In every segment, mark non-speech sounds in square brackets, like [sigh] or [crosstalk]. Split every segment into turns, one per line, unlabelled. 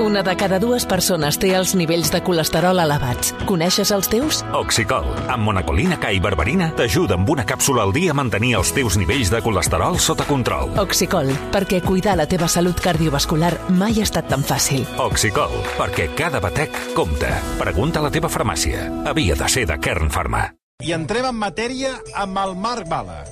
Una de cada dues persones té els nivells de colesterol elevats. Coneixes els teus?
Oxicol, amb monacolina K i berberina, t'ajuda amb una càpsula al dia a mantenir els teus nivells de colesterol sota control.
Oxicol, perquè cuidar la teva salut cardiovascular mai ha estat tan fàcil.
Oxicol, perquè cada batec compta. Pregunta a la teva farmàcia. Havia de ser de Kern Pharma.
I entrem en matèria amb el Marc Bala.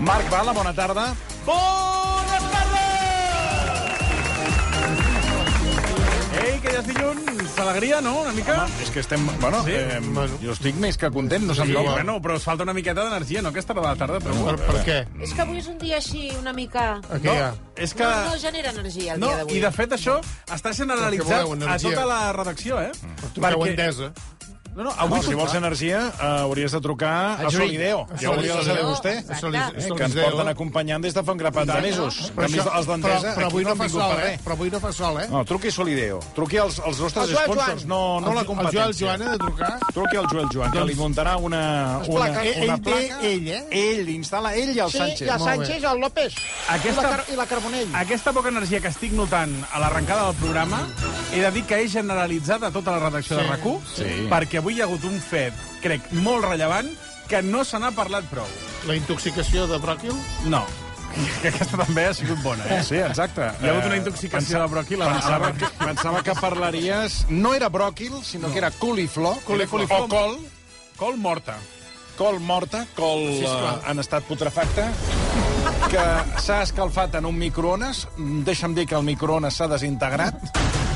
Marc Bala, bona tarda.
Bona tarda! Ei, que ja és dilluns. Alegria, no?, una mica?
És que estem... Bueno,
Sí,
eh,
bueno.
jo estic més que content, no
Sí,
se'm nota.
bueno, però us falta una miqueta d'energia, no? Aquesta hora de la tarda, però...
Per, per què?
És que avui és un dia així una mica...
Aquí
No,
hi ha.
és
No,
que...
no genera energia el
No,
dia d'avui.
i de fet això està
Perquè
generalitzat
voleu
a
energia.
tota la redacció, eh?
Mm.
Truqueu a Endesa.
No, no, avui
No, si vols energia, eh, hauries de trucar a,
A Joy.
Solideo.
A
Ja ho hauria de saber
Solideo.
vostè.
Exacte.
Això li,
Eh,
això
Que ens
li deu.
porten acompanyant des de fa un grapat de mesos.
Però,
Però
això,
els
però,
d'Entesa,
però
aquí
avui
no
no
han
fa
vingut
sol,
per
eh?
res.
Però avui no fa sol, eh?
No, truqui Solideo. Truqui als, als nostres
El Joel
sponsors,
Joan.
no, no
El-
la
el
competència.
Joel Joan ha de trucar?
Truqui al Joel Joan, que
Doncs-
li muntarà una... una,
placa,
una
ell té
placa.
ell, eh?
Ell, instal·la ell i el Sánchez.
la Sánchez,
el López
Aquesta- la Car-
i la Carbonell.
Aquesta poca energia que estic notant a l'arrencada del programa he de dir que és generalitzada a tota la redacció sí, de RAC1
sí.
perquè avui hi ha hagut un fet, crec, molt rellevant que no se n'ha parlat prou.
La intoxicació de bròquil?
No. [laughs] Que Aquesta també ha sigut bona, eh?
Sí, exacte. Eh,
Hi ha hagut una intoxicació de bròquil.
Pensava que, pensava que parlaries... No era bròquil, sinó no. que era coliflor,
Coliflor.
o col,
Col morta.
col morta, col
Sí,
sí,
esclar.
en estat putrefacte, que s'ha escalfat en un microones. Mm, Deixa'm dir que el microones s'ha desintegrat.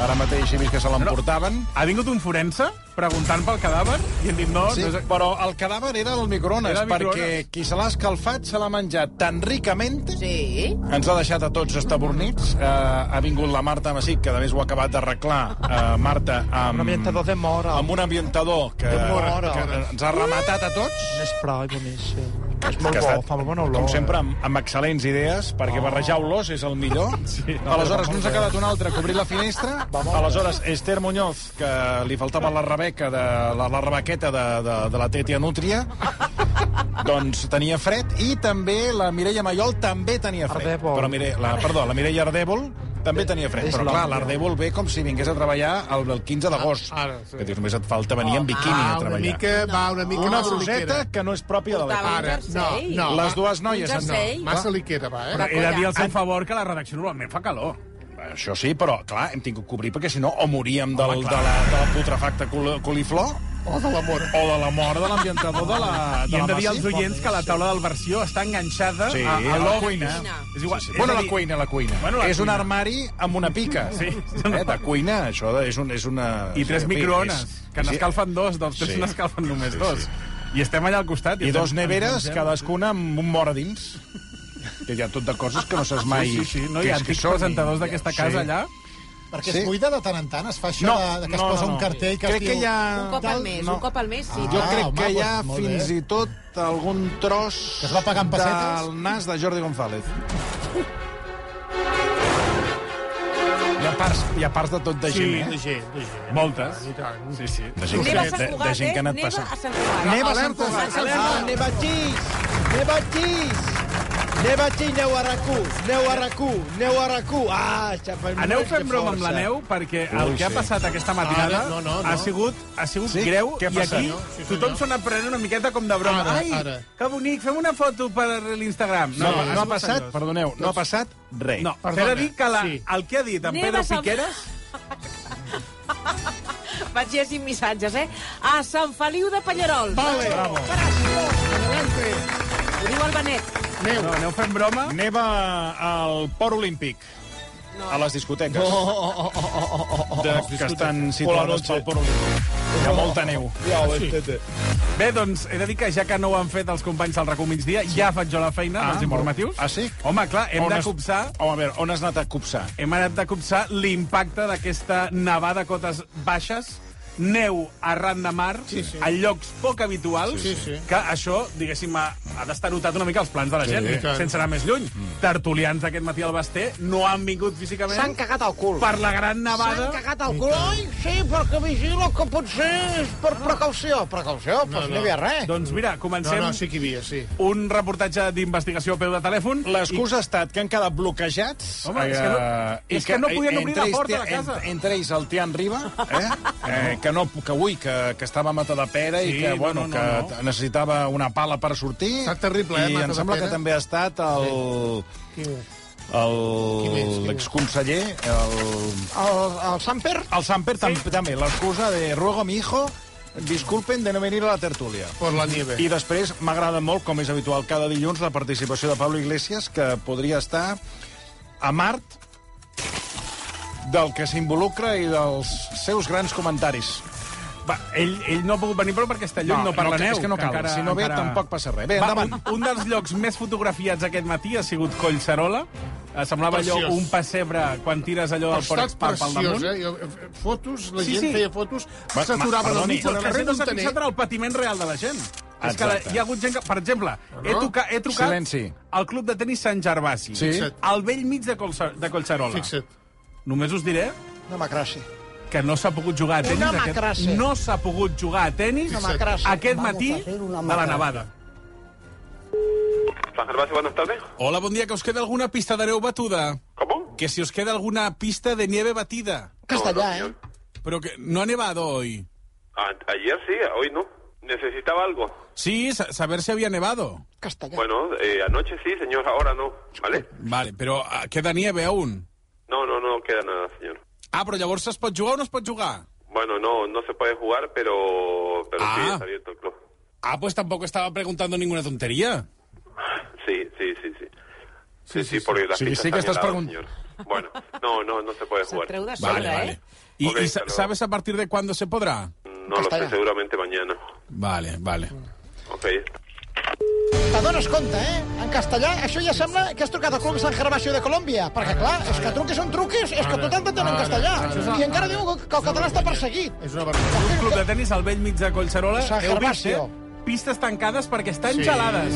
Ara mateix he vist que se l'emportaven.
Ha vingut un forense preguntant pel cadàver i hem dit no,
Sí,
no és...
però el cadàver era el microones,
Era el microones.
perquè qui se l'ha escalfat se l'ha menjat tan ricament
Sí?
Ens ha deixat a tots estabornits. Uh, ha vingut la Marta Massic, que a més ho ha acabat d'arreglar, uh, Marta, amb...
Un ambientador de mora.
Amb un ambientador que,
De mora.
que ens ha rematat a tots.
Un esprai boníssim. És
Que
molt
ha
bo,
estat,
fa molt bona olor. eh? Oh.
Com sempre, amb, amb excel·lents idees, perquè barrejar olors és el
[laughs]
millor. Sí, no, Aleshores, no ens ha quedat un altre a cobrir la finestra. Aleshores, Esther Muñoz, que li faltava la rebeca, de, la, la rebequeta de, de, de la Tetia Nútria,
[laughs]
doncs tenia fred, i també la Mireia Maiol també tenia fred.
Ardèvol.
Però Mire, la, perdó, la Mireia Ardèvol també tenia fred.
És
Però clar,
l'hòstia.
l'Ardèvol ve com si vingués a treballar el, el 15 d'agost.
Ah, ara, sí.
Que dius, només et falta venir en biquini
Ah,
a
una
treballar.
mica, va, una mica
Una
massa
bruseta
liquera.
que no és pròpia de l'època.
Portava
Ara,
Un
no,
jersei.
no.
Les dues noies,
Un
no.
jersei.
Massa liquera, va, eh?
Però-
He de dir al seu favor que la redacció normalment fa calor.
Això sí, però, clar, hem tingut que cobrir, perquè si no o moríem del, de, la, de la putrefacta col- coliflor
O de l'amor.
o de la mort de l'ambientador de la...
I hem de dir als
Massi.
oients que la taula del versió està enganxada
Sí,
a, a
a la
l'office.
cuina.
Ah, És igual.
Sí,
és
sí.
a
Bueno, la
dir,
cuina, la cuina.
Bueno, la
és un
cuina.
armari amb una pica.
Sí.
Eh, de cuina, això de, és, un, és una...
I tres
sí,
microones, que
sí.
n'escalfen dos, dels tres
Sí.
n'escalfen només
Sí,
dos.
sí.
I estem allà al costat.
I
estem-
dos neveres,
ens mengem.
cadascuna amb un mort a dins. Que hi ha tot de coses que no saps mai...
Sí, sí, sí. No,
què
hi ha
és que
antics
són i-
presentadors d'aquesta casa allà.
Perquè
Sí.
es cuida de tant en tant, es fa això
No,
de, de que es
no,
posa
no, no.
un cartell que
Crec
es diu...
que hi ha-
Un cop
Tal-
al mes,
no.
un cop al mes, sí.
Jo
Ah,
crec
home,
que hi ha
doncs molt
fins
bé.
i tot algun tros...
Que es va pagant pessetes?
Del nas de Jordi González. Hi ha parts, hi ha parts de tot de
Sí,
gent,
de
eh?
gent, de gent.
Moltes.
I tant.
Sí, sí.
De gent,
Neva a Sant Cugat,
de gent que ha
eh?
anat
Neva
passant.
a Sant Cugat.
Neva a Sant Cugat.
Ah, neva xis! Neva xis! Neva xis, aneu a RAC1, aneu a RAC1, aneu a RAC1. Ah, xapa,
Aneu fent broma amb la neu, perquè el
Ui,
que ha
sí.
passat aquesta matinada
Ara, Ah, no, no, no.
ha sigut, ha sigut
Sí?
greu,
Què ha
i
passat,
aquí
no? Sí, senyor.
tothom s'ho ha anat prenent una miqueta com de broma.
Ara,
Ai,
ara.
que bonic, fem una foto per l'Instagram.
No, no,
sigut
ha passat,
seriós.
perdoneu, no ha passat res.
No,
Perdona,
t'he de dir que la,
sí.
el que ha dit en
Neva
Pedro
Sant-
Piqueres...
Vaig llegir missatges, eh? A Sant Feliu de Pallarol.
Vale.
Bravo.
Adelante.
Ho diu el Benet.
Neu.
No, aneu fent broma.
Neva al Port Olímpic. A les discoteques. de, que estan situades pel Port Olímpic. Ah, Hi ha molta neu.
Bé, doncs, he de dir que ja que no ho han fet els companys del RAC1 migdia, ja faig jo la feina,
Ah,
dels informatius.
ah, sí?
Home, clar, hem
On
de
has-
copsar...
Home, a veure, on has anat a copsar?
hem anat de copsar l'impacte d'aquesta nevada a cotes baixes, neu arran de mar, sí, sí. a llocs poc habituals,
Sí, sí.
que això, diguéssim, a,
ha destarotat una mica els plans de la
Sí,
gent,
i tant. Mm.
sense anar més lluny. Tertulians aquest matí al Basté no han vingut físicament...
S'han cagat al cul.
Per la gran
S'han
nevada...
cagat al cul. Ai, sí, perquè vigilo, que potser és per precaució. Precaució? Doncs no,
Ah. no.
no. hi havia res.
Doncs mira,
No,
comencem
no, sí que hi havia, sí.
un reportatge d'investigació a peu de telèfon.
L'excusa ha estat que han quedat bloquejats
Home, és que no-
eh,
és que no podien obrir
entre
la
ells
porta de
té-
casa.
en- entre ells el Tian Riba,
[laughs]
eh? eh que, no, que avui, que, que estava a Matadepera
Sí,
i que,
no,
bueno,
no, no,
que
no.
necessitava una pala per sortir.
Està terrible, eh,
I em
Matadepera.
sembla que també ha estat el...
Qui més, qui
el
més?
l'exconseller, el...
El, el Samper
el Samper tam també, l'excusa de ruego a mi hijo, disculpen de no venir a la tertúlia.
Por la nieve.
I després m'agrada molt, com és habitual cada dilluns, la participació de Pablo Iglesias, que podria estar a Mart del que s'involucra i dels seus grans comentaris.
Va, ell, ell no ha pogut venir, però perquè està lluny, no, no parla
que-
neu.
És que no cal. si no ve, tampoc passa res. Bé,
Va,
endavant.
Un, un dels llocs més fotografiats aquest matí ha sigut Collserola. Eh, Semblava allò
Preciós.
un pessebre quan tires allò
Ha
del porc
estat
espar pel damunt.
preciós, eh? Jo- Fotos, la
Sí,
gent
sí.
feia fotos,
Ma-
s'aturaven
ma-
al
perdoni,
mig del
La
carrer
gent no s'ha
Montaner.
fixat en el patiment real de la gent. És que la,
Exacte.
hi ha hagut gent que, per exemple, he,
No?
truca, he trucat
Silenci.
al club de tenis Sant Gervasi,
Sí.
Fixa't.
al vell mig de, Colsa, de Collserola.
Fixa't.
Només us diré
Democràcia.
que no s'ha pogut jugar a tenis.
Una
aquest-
macrassa.
No s'ha pogut jugar a tenis
Fixa't.
Democràcia.
aquest
Vamos
matí
a hacer una
de la
macrassa.
nevada.
San Gervasio, buenas tardes.
Hola, bon dia, que us queda alguna pista de neu batuda?
¿Cómo?
Que si os queda alguna pista de nieve batida.
Castellà,
No, no,
eh?
Pero que no ha nevado hoy.
A- ayer sí, hoy no. Necesitaba algo.
Sí, sa- saber si había nevado.
Castellà.
Bueno, eh, anoche sí, señor, ahora no. ¿Vale?
Vale, però ah, queda nieve aún.
No, no, no queda nada, señor.
Ah, però llavors es pot jugar o no es pot jugar?
Bueno, no, no se puede jugar, pero, pero sí,
Ah.
está abierto el club. [laughs]
Ah, pues tampoco estaba preguntando ninguna tontería.
Sí, sí, sí, sí. Sí, sí, porque las
Sí,
pistas
sí que
están
estás
heladas,
pregun-
señor. Bueno, no, no, no se puede
Se't
jugar.
treu de sobre,
Vale,
eh?
vale. ¿Y,
Ok,
y sa-
hasta luego.
sabes a partir de cuándo se podrá?
No lo sé,
Castellà.
seguramente mañana.
Vale, vale.
Ok.
T'adones compte, eh? En castellà, això ja sembla que has trucat al Club San Gervasio de Colòmbia, perquè, clar, és que truques són truques, és que tot t'entenen en castellà. I encara diu que que el català està perseguit.
És una vergonya.
Un club de tenis al vell mig de Collserola.
San
Heu vist, eh?
Gervasio.
Pistes tancades perquè estan gelades.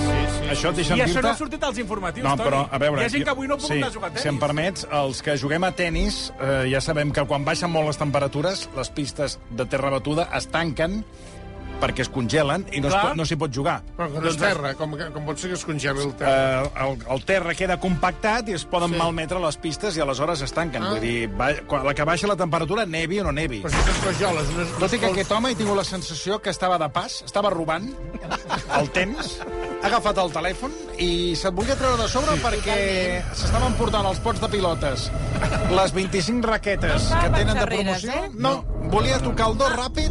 Això et deixen
I això
dir-te-
no ha sortit als informatius,
No,
Toni.
però, a veure...
Hi ha gent que avui no ha pogut
sí,
anar a jugar a tenis.
Si em permets, els que juguem a tennis eh, ja sabem que quan baixen molt les temperatures, les pistes de terra batuda es tanquen perquè es congelen i no es
Clar.
po- no s'hi pot jugar.
Però que no és terra, com, que- com pot ser que es congeli el
Doncs Eh,
terra.
el, el terra queda compactat i es poden sí. malmetre les pistes i aleshores es tanquen. Ah. Vull dir, va, quan, la que baixa la temperatura, nevi o no nevi.
Però si són rajoles, no és...
Tot i que aquest home he tingut la sensació que estava de pas, estava robant el temps, ha agafat el telèfon i se't volia treure de sobre sí, perquè s'estaven portant els pots de pilotes, les 25 raquetes
No
que tenen de
estaven
promoció.
xerreres, eh?
No, volia tocar el dos ràpid,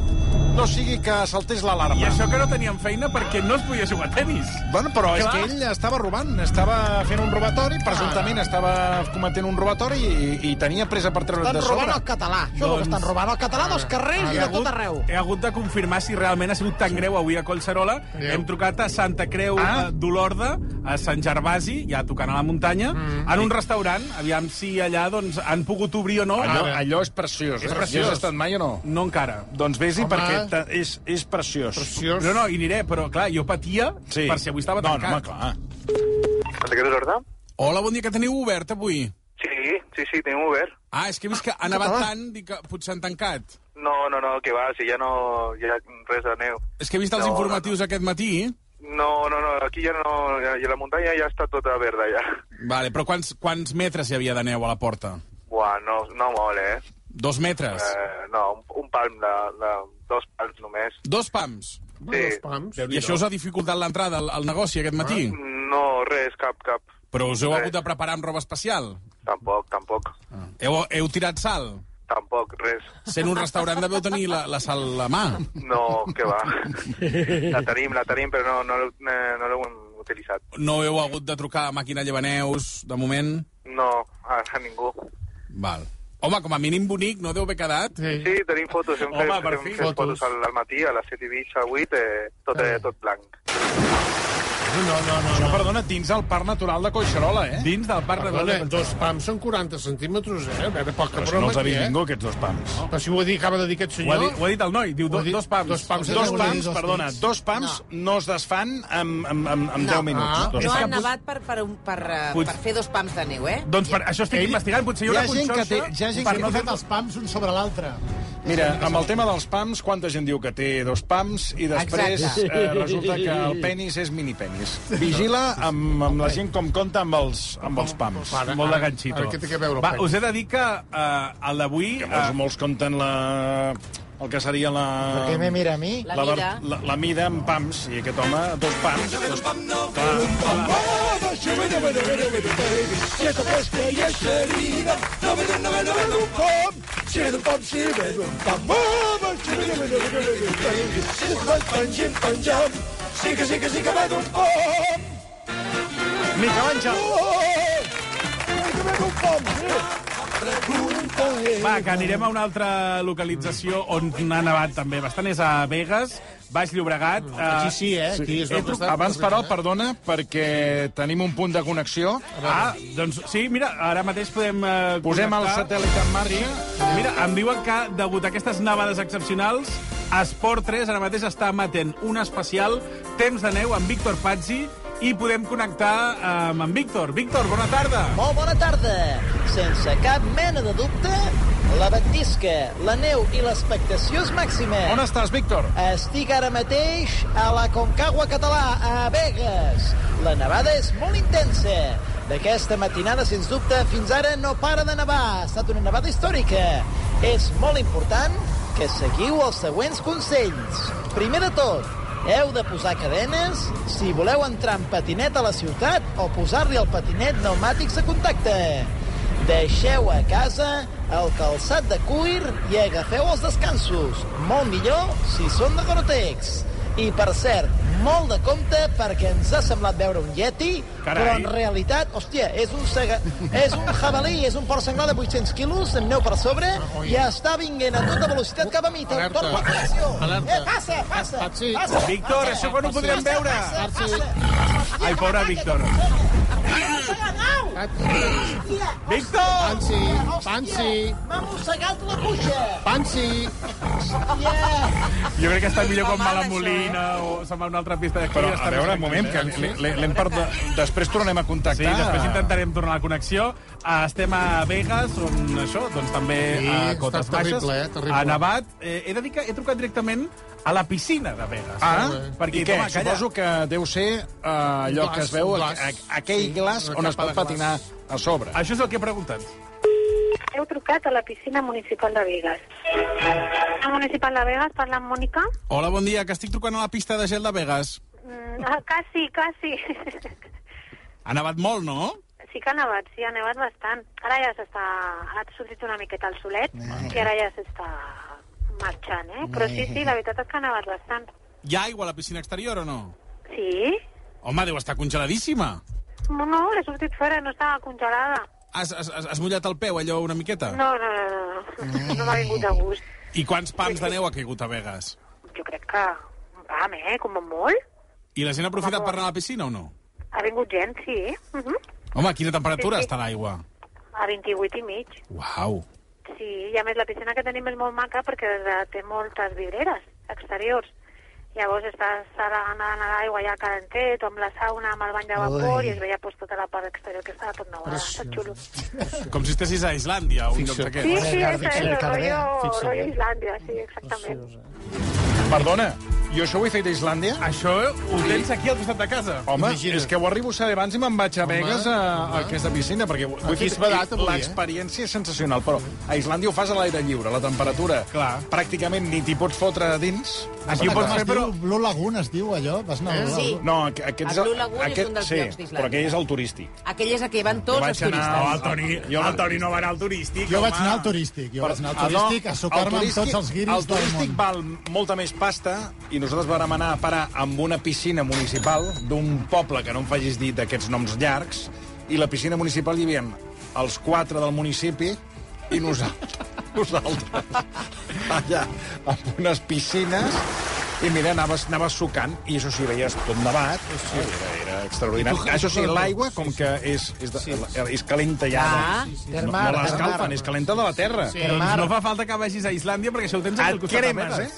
no sigui que saltés l'alarma.
I això que no tenien feina perquè no es podia jugar a tenis.
Bueno, però és
Clar.
que ell estava robant, estava fent un robatori, presumptament estava cometent un robatori i, i tenia pressa per treure't
Estan
de
robant
sobre.
el català. Això és el que estan
Doncs
robant el català dels carrers i de tot arreu.
He hagut de confirmar si realment ha sigut tan greu avui a Collserola.
Greu.
Hem trucat a Santa Creu
Ah.
ah. d'Olorda, a Sant Gervasi, ja tocant a la muntanya, mm. en un restaurant, aviam si allà doncs, han pogut obrir o no.
Allò, allò Ah, és preciós, eh?
És preciós.
Hi has estat mai o no?
No encara.
Doncs vés-hi
Home.
perquè ta- és, és preciós.
Preciós.
No, no, hi aniré, però clar, jo patia sí. per si avui estava
no,
tancat.
No, home, clar.
¿Hasta qué hora?
Hola, bon dia, que teniu obert avui?
Sí, sí, sí, tengo Uber.
Ah, és que he vist que ha nevat tant, dic que potser han tancat.
No, no, no, que va, si ya no... Ya reza neo.
És que he vist els
No,
no,
no,
informatius no, no. aquest matí.
No, no, no, aquí ya no... Ya, ya la montaña ya está toda verde ya. [laughs]
Vale, però quants, quants metres hi havia de neu a la porta?
Buah, no, no molt, eh?
Dos metres.
eh no, un, un palm de, de... dos palms només.
Dos pams.
Bueno, els pams.
I això us ha dificultat l'entrada al, al negoci aquest matí?
No, res, cap, cap.
Però us heu
Res.
hagut de preparar amb roba especial?
Tampoc, tampoc.
Heu, heu tirat sal?
Tampoc, res.
Sent un restaurant deveu tenir la, la sal a la mà. [laughs]
No, que va. La tenim, la tenim, però no, no, l'heu- eh, no l'hem utilitzat.
No heu hagut de trucar a màquina llevaneus, de moment?
No, a, a ningú.
Val. Home, com a mínim bonic, no deu haver quedat?
Sí.
Sí, tenim fotos. Hem
Home,
fet,
per
hem
fi.
fet
Fotos.
fotos al, al matí, a les 7 i mig, a 8, eh, tot, eh, tot blanc.
no, no, no.
Això, perdona, dins del parc natural de Coixarola, eh?
Dins del parc natural
Perdona,
de...
dos pams són 40 centímetres, eh? A veure, poca
Però si no
broma,
els ha
aquí,
vist
eh?
ningú, aquests dos pams.
Però si ho ha dit, acaba de dir
Ho
aquest
ha,
senyor...
dit, ho ha dit el noi, diu
Ho ha
do,
dit-
dos pams.
dos pams.
Dos
Volia
pams, perdona, dos pams no es desfan en, en, en, en 10 minuts.
Ah.
Dos
No
pams.
han nevat per, per, un, per, eh,
Puig-
per fer dos pams de neu, eh?
Doncs per, això estic investigant, potser hi haurà conxorxa per no fer els
pams un sobre l'altre.
Mira, amb el tema dels pams, quanta gent diu que té dos pams i després eh,
Exacte.
resulta que el penis és mini-penis. Vigila amb, amb la gent com compta amb els, amb els pams.
Ara,
Molt de
ara,
ganxito.
ara què té que veure el
Va,
penis?
us he de dir que eh, el d'avui...
Que
eh,
molts, molts compten la, el que seria la...
Què me mira a mi?
La
ver-
mida.
La, la mida amb pams, i aquest home, dos pams. Dos... Clar, Mica, menja!
Va, que anirem a una altra localització on n'ha nevat també bastant. És a Vegas, Baix Llobregat.
Aquí sí, eh? Aquí és
He truc- Abans, però, perdona, perquè tenim un punt de connexió.
eh,
Ah, doncs sí, mira, ara mateix podem... Eh,
Posem el
connectar.
satèl·lit en marxa.
Mira, em diuen que, degut a aquestes nevades excepcionals, Esport 3 ara mateix està emetent un especial Temps de neu amb Víctor Pazzi i podem connectar eh, amb en Víctor. Víctor, bona tarda.
Molt Oh, bona tarda. Sense cap mena de dubte, la batisca, la neu i l'expectació és màxima.
On estàs, Víctor?
Estic ara mateix a la Concagua Català, a Vegas. La nevada és molt intensa. D'aquesta matinada, sens dubte, fins ara no para de nevar. Ha estat una nevada històrica. És molt important que seguiu els següents consells. Primer de tot, heu de posar cadenes si voleu entrar en patinet a la ciutat o posar-li el patinet pneumàtics a contacte. Deixeu a casa el calçat de cuir i agafeu els descansos. Molt millor si són de Gorotex. I, per cert, molt de compte perquè ens ha semblat veure un yeti,
Carai.
però en realitat, hòstia, és un, sega, és un jabalí, és un porc senglar de 800 quilos, amb neu per sobre, i està vinguent a tota velocitat cap a mi. Tot, tot per creació. Eh, passa, passa,
Patxi.
passa.
Víctor, això quan ho podrem veure? Ai, pobre Víctor. Víctor!
Pansi, Pansi,
M'ha mossegat la cuixa.
Pansi.
Yeah.
Jo crec que està millor com
Fa mal,
Malamolina o se'n va a una altra pista d'aquí.
eh? Però,
està més
a
tranquil.
veure,
eh?
un moment, que l'he- l'he- l'hem perdut. Després tornem a
Sí,
contactar.
després intentarem tornar a la connexió. Ah, Estem a Vegas, on això, doncs també
Sí,
a
està
Cotes
terrible,
Baixes.
eh, terrible.
A Nevat. Eh, he de dir que he trucat directament a la piscina de Vegas.
Ah,
perquè,
i què?
Home, calla,
Suposo que deu ser uh, allò
glaç,
que es veu,
un
a,
glaç.
a, aquell
Sí,
glaç
una
on es
capa
pot
de glaç.
patinar a sobre.
Això és el que he preguntat.
Heu trucat a la piscina municipal de Vegas. A municipal de Vegas, parla amb Mònica?
Hola, bon dia, que estic trucant a la pista de gel de Vegas.
Mm, ah, quasi, quasi.
Ha nevat molt, no?
Sí que ha nevat, sí, ha nevat bastant. Ara ja s'està... Ha sortit una miqueta el solet
Eh.
i ara ja s'està marxant, eh? Però sí, sí, la veritat és que ha nevat bastant.
Hi ha aigua a la piscina exterior o no?
Sí?
Home, deu estar congeladíssima.
No, no, l'he sortit fora, no estava congelada.
Has, has, has, has mullat el peu, allò, una miqueta? Eh.
No, no, no, no, no m'ha vingut a gust.
I quants pams de neu ha caigut a Vegas?
Jo crec que... Vam, eh? Com a molt.
I la gent ha aprofitat per anar a la piscina o no?
Ha vingut gent, sí, eh? Uh -huh.
Home, quina temperatura
Sí, sí.
està l'aigua?
A 28 i mig.
Uau.
Sí, i a més la piscina que tenim és molt maca perquè eh, té moltes vidreres exteriors. Llavors estàs ara anant a l'aigua ja calentet, o amb la sauna, amb el bany de vapor, i es veia pues, tota la part exterior que estava tot nevada. Tot xulo.
Com si estessis a Islàndia, un lloc
Sí,
d'aquests.
sí, és, és
Fixa't,
el rotllo,
fixa't.
rotllo Islàndia, sí, exactament.
Perdona, jo això ho he fet a Islàndia?
Això ho tens aquí al costat de casa.
Home,
Imagina't.
és que ho arribo a saber abans i me'n vaig a Vegas a, a aquesta piscina, perquè ho- ho he
Aquí
fet-
és barat, avui, eh?
l'experiència és sensacional, però a Islàndia ho fas a l'aire lliure, la temperatura
Clar.
pràcticament ni t'hi pots fotre a dins.
Aquí ho pots fer, però... Eh,
Blue Lagoon es diu, allò? Vas anar
Blue Sí. Lagoon?
No, aqu- aquest
El Blue Lagoon és un dels
sí,
llocs d'Islàndia.
però aquell és el turístic.
Aquell és a què van tots els
vaig anar
No,
turistes.
el Toni,
Jo
jo
no-
el Toni no va anar al turístic,
Jo
home.
vaig anar al turístic, jo vaig anar al
Ah, no,
turístic a sucar-me
el
amb tots els guiris
El
del
turístic
món.
val molta més pasta i nosaltres vam anar a parar amb una piscina municipal d'un poble que no em facis dir d'aquests noms llargs i la piscina municipal hi havia els quatre del municipi i [laughs] nosaltres, nosaltres allà amb unes piscines I mira, anaves, anaves sucant, i això sí, veies tot nevat, sí, era, era extraordinari.
I tu-
Això sí, l'aigua, com que és, és, de, és calenta ja, doncs.
Ah,
no,
sí, sí.
no,
Termar,
no l'escalfen,
termar.
és calenta de la terra.
Sí, doncs no fa falta que vagis a Islàndia, perquè això ho tens aquí al
Et
costat.
cremes, eh?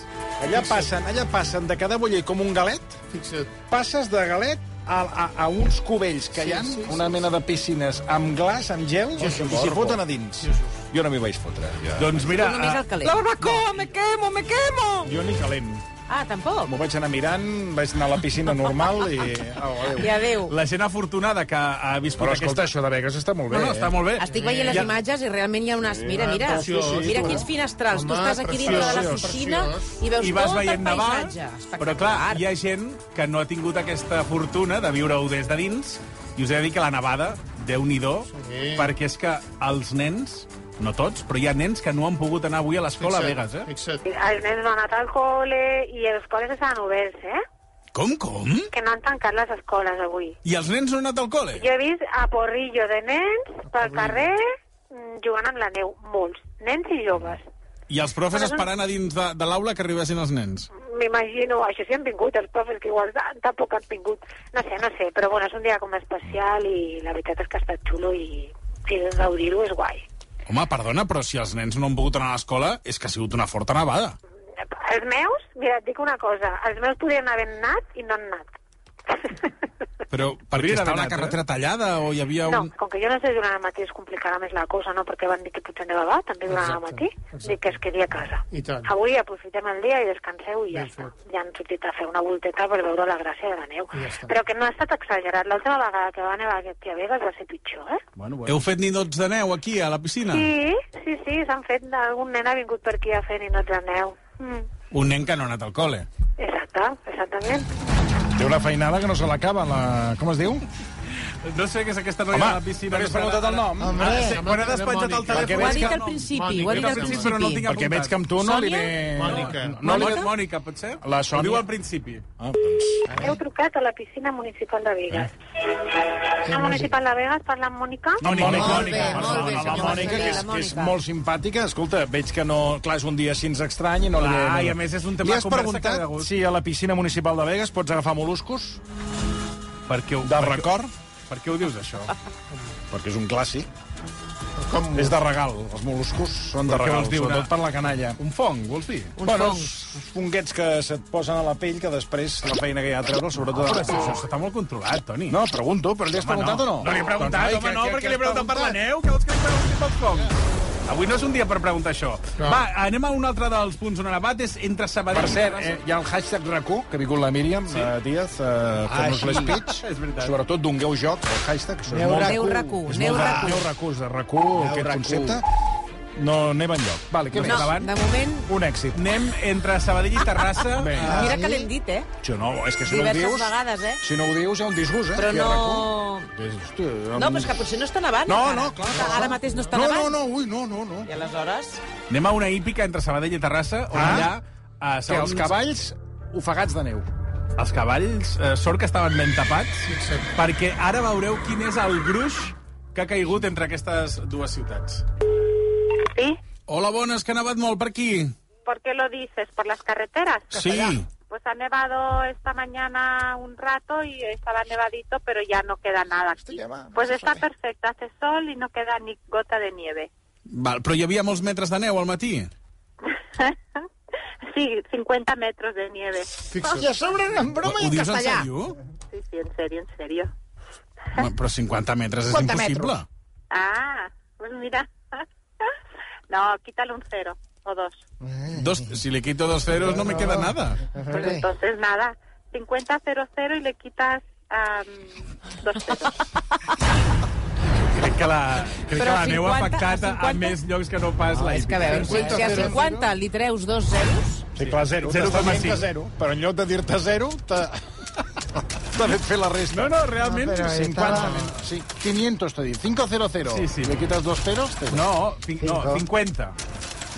Allà passen, allà passen de cada boller com un galet, passes de galet a, a, a uns cubells que
Sí,
hi ha,
sí, sí.
una mena de piscines amb glaç, amb gel,
Sí, sí,
i
sí.
s'hi foten a dins. Jo no m'hi vaig fotre. Ja.
Doncs mira, Només el
La barbacoa, me quemo, me quemo!
Jo ni calent.
Ah, tampoc?
M'ho vaig anar mirant, vaig anar a la piscina normal [laughs] i... Au, adéu.
I adéu.
La gent afortunada que ha viscut
Però
oh,
escolta,
aquesta...
això de Vegas està molt bé. eh?
No, no, està molt bé.
Estic veient les
Ja-
imatges i realment hi ha unes... Mira, mira,
Sí, sí,
mira
sí.
quins finestrals. Tu
Home,
estàs aquí dintre de la
preciós.
piscina i veus
I vas
tot el
veient nevar,
paisatge.
però clar, hi ha gent que no ha tingut aquesta fortuna de viure-ho des de dins, i us he de dir que la nevada, déu nhi sí. perquè és que els nens, no tots, però hi ha nens que no han pogut anar avui a l'escola a Vegas, eh?
Els nens no han anat al col·le i els col·les estan oberts, eh?
Com, com?
Que no han tancat les escoles avui.
I els nens no han anat al col·le?
Jo he vist a porrillo de nens pel carrer mm, jugant amb la neu, molts, nens i joves.
I els profes esperant a dins de, de l'aula que arribessin els nens.
M'imagino, això sí han vingut, els profes que igual tan- tampoc han vingut. No sé, no sé, però bueno, és un dia com especial i la veritat és que ha estat xulo i, i gaudir-ho és guai.
Home, perdona, però si els nens no han pogut anar a l'escola és que ha sigut una forta nevada.
Els meus, mira, et dic una cosa, els meus podrien haver anat i no han anat.
Però perquè estava la carretera tallada o hi havia
No,
un...
com que jo no sé durant el matí es complicarà més la cosa, no? Perquè van dir que potser nevava, també durant el matí, dic que es quedi a casa.
I tant.
Avui aprofitem el dia i descanseu i ja està. Ja han sortit a fer una volteta per veure la gràcia de la neu.
I ja està.
Però que no ha estat exagerat. L'última vegada que va nevar aquí a Vegas va ser pitjor, eh?
Bueno, bueno. Heu fet ninots de neu aquí, a la piscina?
Sí, sí, sí, s'han fet... Algun nen ha vingut per aquí a fer ninots de neu. Mm,
Un nen que no ha anat al col·le.
exacte, exactament.
Té una feinada que no se l'acaba, la... com es diu?
No sé què és aquesta noia
Home,
de la piscina.
no li has preguntat el nom?
Hombre, ah, sí, quan ha despatxat el
Perquè
telèfon...
veig que-
Però no el tinc
Perquè veig que amb tu no li ve...
Mònica.
No li ve...
Mònica, Mònica potser?
La Sònia.
Ho diu al principi.
Ah, doncs...
Heu trucat a la piscina municipal de Vegas. A municipal de Vegas parla amb Mònica?
Mònica, la Mònica, que és, que és molt simpàtica. Escolta, veig que no... Clar, és un dia així estrany i no li...
Clar,
no li-
i a més és un tema
Li
de
has
conversa que
preguntat
da gust.
si a la piscina municipal de Vegas pots agafar moluscos?
Perquè,
de record?
Per què ho dius, això?
Perquè és un clàssic. Com... És de regal. Els moluscos són de
Però què
regal,
vols dir, una-
sobretot per la canalla.
Un fong, vols dir?
Un bueno, uns fonguets que se't posen a la pell, que després la feina que hi ha a treure, sobretot...
Ah, Però si això està molt controlat, Toni.
No, pregunto, però li has
Home,
preguntat o no?
No li he preguntat,
Doncs,
home,
ai,
no,
que-
perquè li
que-
he preguntat per la neu. Què vols que li pregunti pel foc? Avui no és un dia per preguntar això. Va, anem a un altre dels punts on ha nevat, és entre Sabadell
Per cert,
i Terrassa.
eh, hi ha el hashtag RAC1, que ha vingut la Míriam sí? eh, Díaz, eh, fent-nos
sí.
l'espeech.
[laughs] És veritat.
Sobretot, dongueu joc, el hashtag. Això
Neu
és molt...
RAC1. Neu
RAC1,
És
neu
molt de-
RAC1.
Neu RAC1, és de RAC1, aquest
RAC1.
concepte. No anem enlloc. Vale, què
No,
més?
de
moment...
Un èxit.
Anem entre Sabadell i [laughs] Terrassa.
Bé.
Mira que l'hem dit, eh?
Jo no, és Ah, que si no ho
Diverses
dius...
vegades, eh?
Si no ho dius, hi ha un disgust, eh?
Però
aquí a
no...
RAC1. És, hosti,
No, però és que potser no està nevant.
No,
encara.
no, clar, clar,
Ara
clar.
mateix no està
No,
nevant.
no, no, ui, no, no, no.
I aleshores...
Anem a una hípica entre Sabadell i Terrassa, on
Ah.
ah? hi ha... eh,
Que els cavalls ofegats de neu.
Els cavalls, eh, sort que estaven ben tapats, perquè ara veureu quin és el gruix que ha caigut entre aquestes dues ciutats.
Sí?
Hola, bones, que ha nevat molt per aquí.
¿Por qué lo dices? ¿Por las carreteras?
Sí.
Pues ha nevado esta mañana un rato y estaba nevadito, pero ya no queda nada aquí. Pues está perfecto, hace sol y no queda ni gota de nieve.
Val, però hi havia molts metres de neu al matí.
Sí, 50 metros de nieve.
I a sobre en broma
Ho-
i
ho
en
dius en
castellà.
sèrio?
Sí, sí, en serio, en serio.
Home, Però 50 metres és
50
impossible.
metros. Ah, pues mira. [laughs] No, quítale un cero o dos.
Dos, si li quito dos ceros no me queda nada.
Pues entonces nada, 50 cero cero y le quitas am, dos ceros.
Crec que la, crec que
Però
la neu ha
50
afectat a, a més llocs que no pas la
És que a
hípica.
veure, si si a 50 li treus dos zeros...
Sí, clar, zero.
0,5.
0, però en lloc de dir-te zero, t'ha
[laughs]
t'ha fet fer la resta.
No, no, realment...
No, però 50, sí, 500 t'he dit, 500.
Sí, sí.
Le quitas dos ceros? Cero.
No, cinc, no, 50.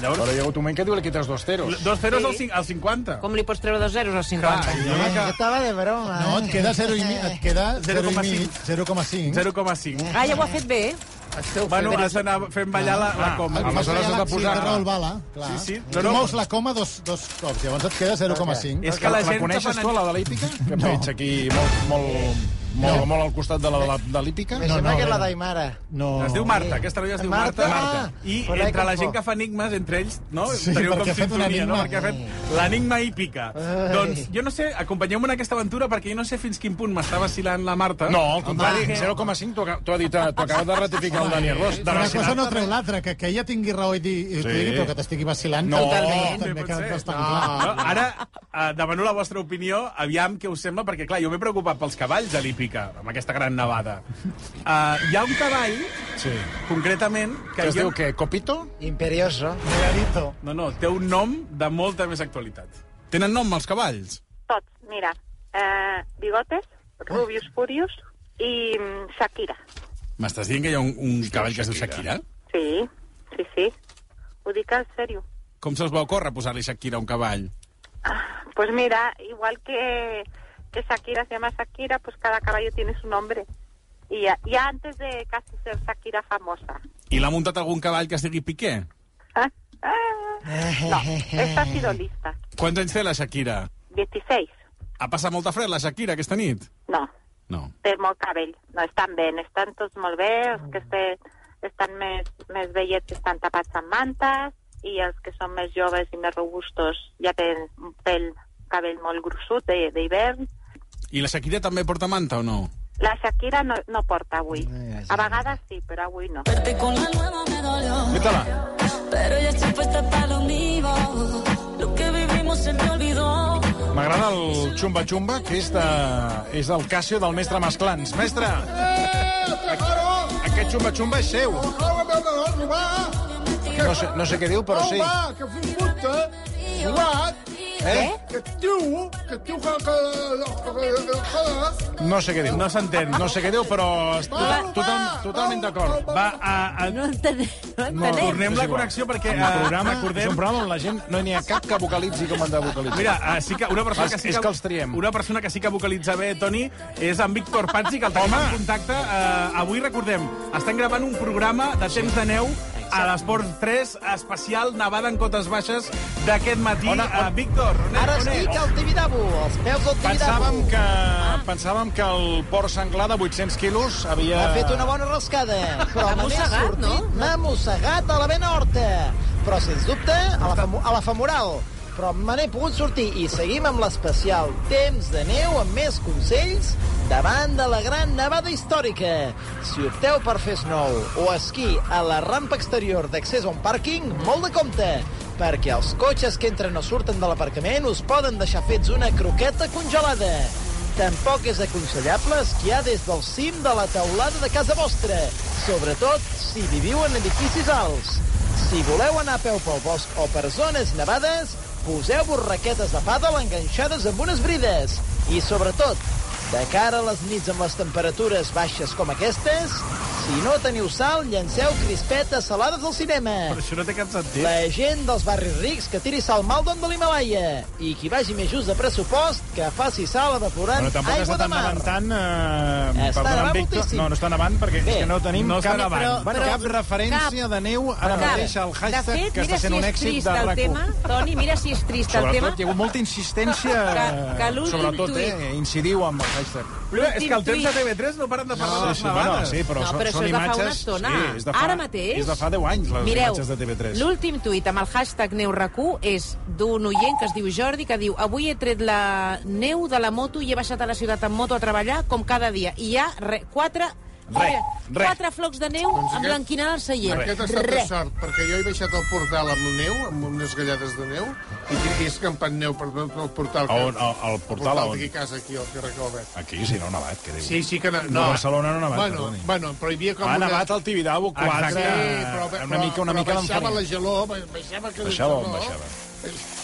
Llavors-
Però hi ha hagut un moment que diu le quitas dos ceros.
Dos ceros
Sí.
al, cin- al 50.
Com li pots treure dos zeros als
Clar,
50? Clar,
jo crec
Estava de broma,
eh? [laughs]
No, et queda 0,5. Et queda 0,5.
0,5.
0,5.
Ah, ja ho ha fet bé, eh?
Esteu
Bueno, has d'anar fent ballar la,
Ah,
la coma.
Aleshores has de posar... Sí, Raül Bala, clar.
Sí, sí.
Tu mous la coma dos, dos cops, llavors et queda 0,5.
És que la, la coneixes tu, la de l'hípica? Que no. veig aquí molt, molt, molt,
No.
molt al costat de la de la- de l'hípica.
Me sembla que és la
d'Aimara.
No.
Es diu Marta, aquesta noia es diu
Marta,
Marta.
Marta.
Ah,
I
Però
entre
l'he
la gent
confós.
que fa enigmes, entre ells, no?
Sí,
Teniu
perquè ha fet un
sintonia, no?
enigma.
Perquè ha fet l'enigma hípica.
Ai.
Doncs jo no sé, acompanyeu-me en aquesta aventura perquè jo no sé fins quin punt m'està vacilant la Marta.
No, al contrari, 0,5 t'ho aca- t'ho ha dit, eh, t'ho acabes de ratificar el Daniel Ros. De
Una cosa
vacilar.
no treu l'altra, que, que ella tingui raó i, di, i sí.
Sí.
digui, però que t'estigui vacilant.
No.
també
pot
queda
ser.
bastant
No,
clar.
Ara eh, demano la vostra opinió, aviam què us sembla, perquè clar, jo m'he preocupat pels cavalls a l'hípica, amb aquesta gran nevada. Eh, hi ha un cavall,
Sí.
concretament... Que,
Que es
jo...
diu què, Copito?
Imperioso.
Regalito.
No, no, té un nom de molta més actualitat. Tenen nom els cavalls?
Tots, mira, eh, Bigotes, Rubius Furious i mm, Shakira.
M'estàs dient que hi ha un, un cavall que es diu Shakira?
Sí, sí, sí. Ho dic en sèrio.
Com se'ls va ocórrer posar-li Shakira a un cavall?
Pues mira, igual que, que Shakira se llama Shakira, pues cada caballo tiene su nombre. Y ya, ya antes de casi ser Shakira famosa. [laughs] Ah,
I l'ha muntat algun cavall que es digui Piqué?
No, esta ha sido lista.
Quants anys té la Shakira?
16.
Ha passat molta fred la Shakira aquesta nit?
No.
No.
Té molt cabell. No, estan bé, estan tots molt bé. Els que este, estan més, més vellets estan tapats amb mantes i els que són més joves i més robustos ja tenen un pèl, cabell molt gruixut de- d'hivern.
I la Shakira també porta manta o no?
La Shakira no, no porta avui. A vegades sí, però avui no.
Con la nueva me dolió,
Mítala.
pero ya estoy puesta para lo mío. Lo que vivimos se me olvidó.
M'agrada el Xumba Xumba, que és, de, és del Casio del mestre Masclans. Mestre, aquest Xumba Xumba és seu. No sé, no sé què diu, però sí.
Home, Oh, que fins puta, jugat,
Eh?
que tu, que tu... que- que- que- que-
No sé què diu. No s'entén. No sé què diu, però est- total, total, totalment d'acord.
Va, a, a... No
entenem.
No,
Tornem la connexió perquè...
El
eh,
programa
recordem-
és un programa on la gent no n'hi ha cap que vocalitzi com han de vocalitzar.
Mira, eh, sí que una persona que
És-
sí que,
És que els triem.
una persona que sí que vocalitza bé, Toni, és en Víctor Pazzi, que el tenim en contacte. Eh, avui, recordem, estan gravant un programa de temps de neu a l'Esport 3, especial Nevada en Cotes Baixes d'aquest matí. On, on, uh, Víctor, on,
Ara
on
estic
ets?
al Tibidabo, als peus del Tibidabo.
Pensàvem que, pensàvem que el porc senglar de 800 quilos havia...
Ha fet una bona rascada, però
T'ha
me n'he
mossegat,
sortit, m'ha mossegat a la vena horta. Però, sens dubte, a la, femo- a la femoral. Però me n'he pogut sortir i seguim amb l'especial Temps de neu amb més consells davant de la gran nevada històrica. Si opteu per fer snow o esquí a la rampa exterior d'accés a un pàrquing, molt de compte, perquè els cotxes que entren o surten de l'aparcament us poden deixar fets una croqueta congelada. Tampoc és aconsellable esquiar des del cim de la teulada de casa vostra, sobretot si viviu en edificis alts. Si voleu anar a peu pel bosc o per zones nevades, poseu-vos raquetes de pàdel enganxades amb unes brides. I sobretot, de cara a les nits amb les temperatures baixes com aquestes, si no teniu sal, llanceu crispetes salades al cinema.
Però això no té cap sentit.
La gent dels barris rics que tiri sal mal d'on de l'Himalaya. I qui vagi més just de pressupost, que faci sal evaporant
Bueno, tampoc
aigua
està
de
tan
mar.
nevant tant... Eh,
Està
perdona'm,
nevant
Víctor.
moltíssim.
No, no està nevant perquè
Bé,
és que no tenim
no està
cap,
nevant.
bueno, cap referència de neu ara mateix al hashtag
de fet,
que
mira
està sent
si
un
és
èxit
trist
de
el
RAC1.
tema, Toni, mira si és trist el tema.
Sobretot hi ha hagut molta insistència, [laughs]
Que- que l'últim
sobretot,
tuit-
eh, incidiu amb el hashtag.
Mira, és que el temps de TV3 no paren de parlar de
No,
les
sí,
nevades.
bueno, sí, però,
No,
són-
però
són
això és de fa una
imatges...
estona.
Sí, és de fa,
Ara mateix-
És de fa 10 anys, les
Mireu,
imatges de TV3.
l'últim tuit amb el hashtag NeuRAC1 és d'un oient que es diu Jordi, que diu avui he tret la neu de la moto i he baixat a la ciutat amb moto a treballar, com cada dia. I hi ha re, quatre,
Re, re.
quatre flocs de neu
Doncs aquest-
emblanquinant el seient.
Aquest ha estat de
Re.
sort, perquè jo he baixat al portal amb neu, amb unes gallades de neu, i he escampat neu per tot el portal.
A on? Al- al portal, a on?
d'aquí a casa, aquí, al carrer Calvet.
Aquí, si no, ha nevat, que diu.
Sí, sí que... No,
No, a Barcelona no ha nevat,
bueno,
perdoni.
bueno, però hi havia com
Ha
una...
nevat al Tibidabo quatre,
Sí, però,
una
però,
mica- una
però
mica
baixava
l'enfarina.
la geló, ba- baixava que
Baixava on
geló,
baixava?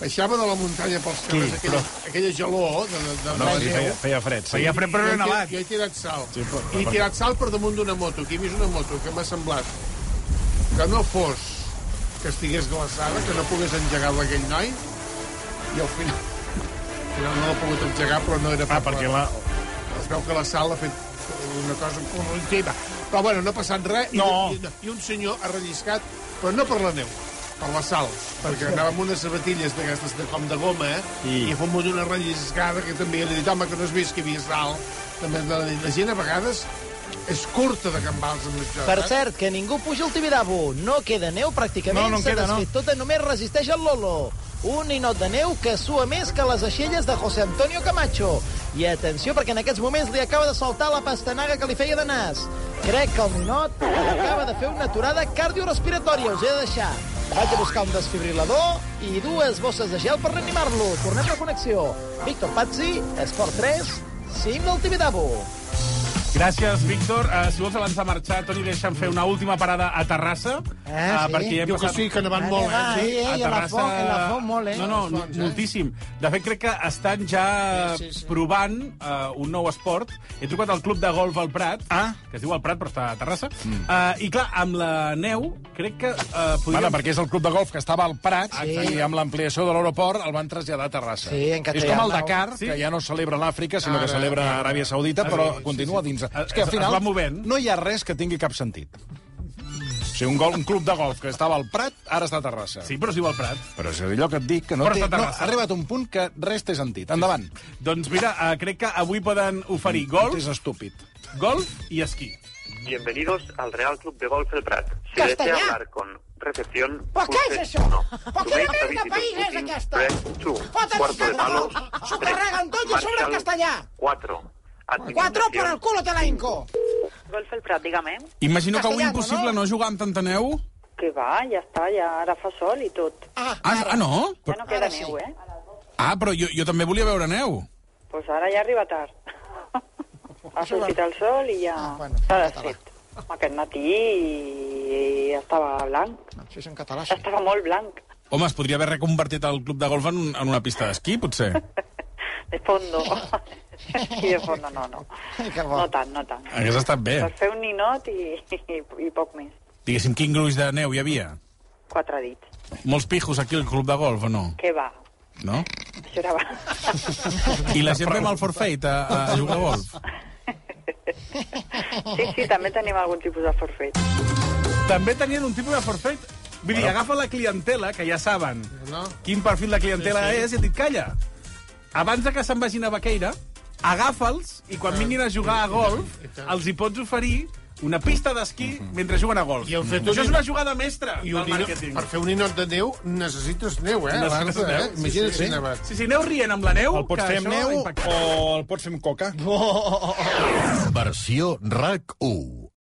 baixava de la muntanya pels carrers,
Qui?
aquella, aquella geló de, de, de
No,
la
sí,
neu.
feia, feia fred. Sí.
Jo he- jo he tirat- Jo he tirat sal.
Sí, però-
I he
però-
tirat sal per damunt d'una moto. Aquí he vist una moto que m'ha semblat que no fos que estigués glaçada, que no pogués engegar-la aquell noi, i al final, al final no l'ha pogut engegar, però no era... Ah, perquè
la...
Es veu que la sal ha fet una cosa corruptiva. Però bueno, no ha passat res.
No.
I, i, I un senyor ha relliscat, però no per la neu, per la sal. Perquè anava amb unes sabatilles d'aquestes de com de goma, eh? I,
I-
I ha fumut una relliscada que també li he dit, home, que no has vist que hi havia sal. També la, la gent a vegades és curta de gambals amb això.
Per
eh?
cert, que ningú puja al Tibidabo. No queda neu pràcticament.
No, no en
S'ha
queda, no.
desfet tota, només resisteix el Lolo. Un ninot de neu que sua més que les aixelles de José Antonio Camacho. I atenció, perquè en aquests moments li acaba de saltar la pastanaga que li feia de nas. Crec que el ninot acaba de fer una aturada cardiorrespiratòria. Us he de deixar. Vaig a buscar un desfibrilador i dues bosses de gel per reanimar-lo. Tornem a connexió. Víctor Pazzi, Esport 3, cim del Tibidabo.
Gràcies, Víctor. Uh, si vols, abans de marxar, Toni, deixa'm fer una última parada a Terrassa.
Ah,
eh,
sí?
perquè hi hem
Diu que
passat...
sí, que nevat Vale, molt, eh? va,
Sí,
eh,
a
eh, i a la
Terrassa-
font- en la font molt, eh?
No, no,
A les fonts, eh?
moltíssim. De fet, crec que estan ja sí, sí, sí. provant uh, un nou esport. He trucat al club de golf al Prat, ah. que es diu al Prat, però està a Terrassa. Mm. Uh, I clar, amb la neu, crec que uh, podríem...
Bueno, perquè és el club de golf que estava al Prat
Exacte.
i amb l'ampliació de l'aeroport el van traslladar a Terrassa.
Sí, en
és
Castellar
com el
nou.
Dakar,
Sí.
que ja no es celebra a l'Àfrica, sinó
Ara,
que celebra a
ara.
Aràbia Saudita,
Ah,
però
sí, sí,
continua dins. És que
es-
al final
es va movent.
no hi ha res que tingui cap sentit. O sigui, un, gol, un club de golf que estava al Prat, ara està a Terrassa.
Sí, però es diu al Prat.
Però és allò que et dic, que no
Però
té...
està a
No,
Terrassa.
ha arribat un punt que res té sentit. Endavant.
Doncs mira, uh, crec que avui poden
Mm.
oferir golf...
És estúpid.
Golf i esquí.
Bienvenidos al Real Club de Golf El Prat. Si
Castellà.
desea hablar con recepción...
Però què és
pulse
això?
uno.
Però
To
quina
make a
merda
visit
país és
booking,
aquesta?
press two.
Foten
Cuarto de
cada [laughs]
palo,
dos. S'ho
tres.
carreguen tot i a sobre
Marshall,
el castellà.
Cuatro. Admiración.
Cuatro por el culo te la inco.
Golf el Prat, dígame.
Imagino que avui impossible no, no jugar amb tanta neu.
Que va, ja està, ja ara fa sol i tot.
Ah,
Ah, ah no?
ja no queda neu, eh?
Ah, però jo, jo també volia veure neu.
Doncs pues ara ja arriba tard. ha sortit el sol i ja s'ha desfet. Aquest matí estava blanc.
Això és en català, sí.
Estava molt blanc, [laughs]
Home, es podria haver reconvertit el club de golf en, un- en una pista d'esquí, potser.
de fondo. I de fondo no, no. No tant, no tant.
Hauria estat bé.
Per fer un ninot i, i, i poc més.
Diguéssim, quin gruix de neu hi havia?
Quatre dits.
Molts pijos aquí al club de golf, o no?
Què va?
No?
Això era abans.
I la gent ve amb el forfeit a, a jugar a golf.
Sí, sí, també tenim algun tipus de forfet.
També tenien un tipus de forfeit. Vull dir, agafa la clientela, que ja saben
No?
quin perfil de clientela
Sí, sí.
és, i et dic, calla, abans de que se'n vagin a Baqueira, agafa'ls i
Ah.
quan vinguin a jugar a golf els hi pots oferir una pista d'esquí mentre juguen a golf. I
Mhm. fet un-
Això és una jugada mestra
I un
del
ninot,
màrqueting.
per fer un ninot de neu necessites neu, eh? Abans,
Necessites
eh?
neu?
Imagina't
Sí,
sí,
sí.
sí. nevat.
Sí, sí, aneu rient amb la neu.
El pots
que
fer amb
això
neu
impacta.
o el pots fer amb coca?
Versió RAC 1.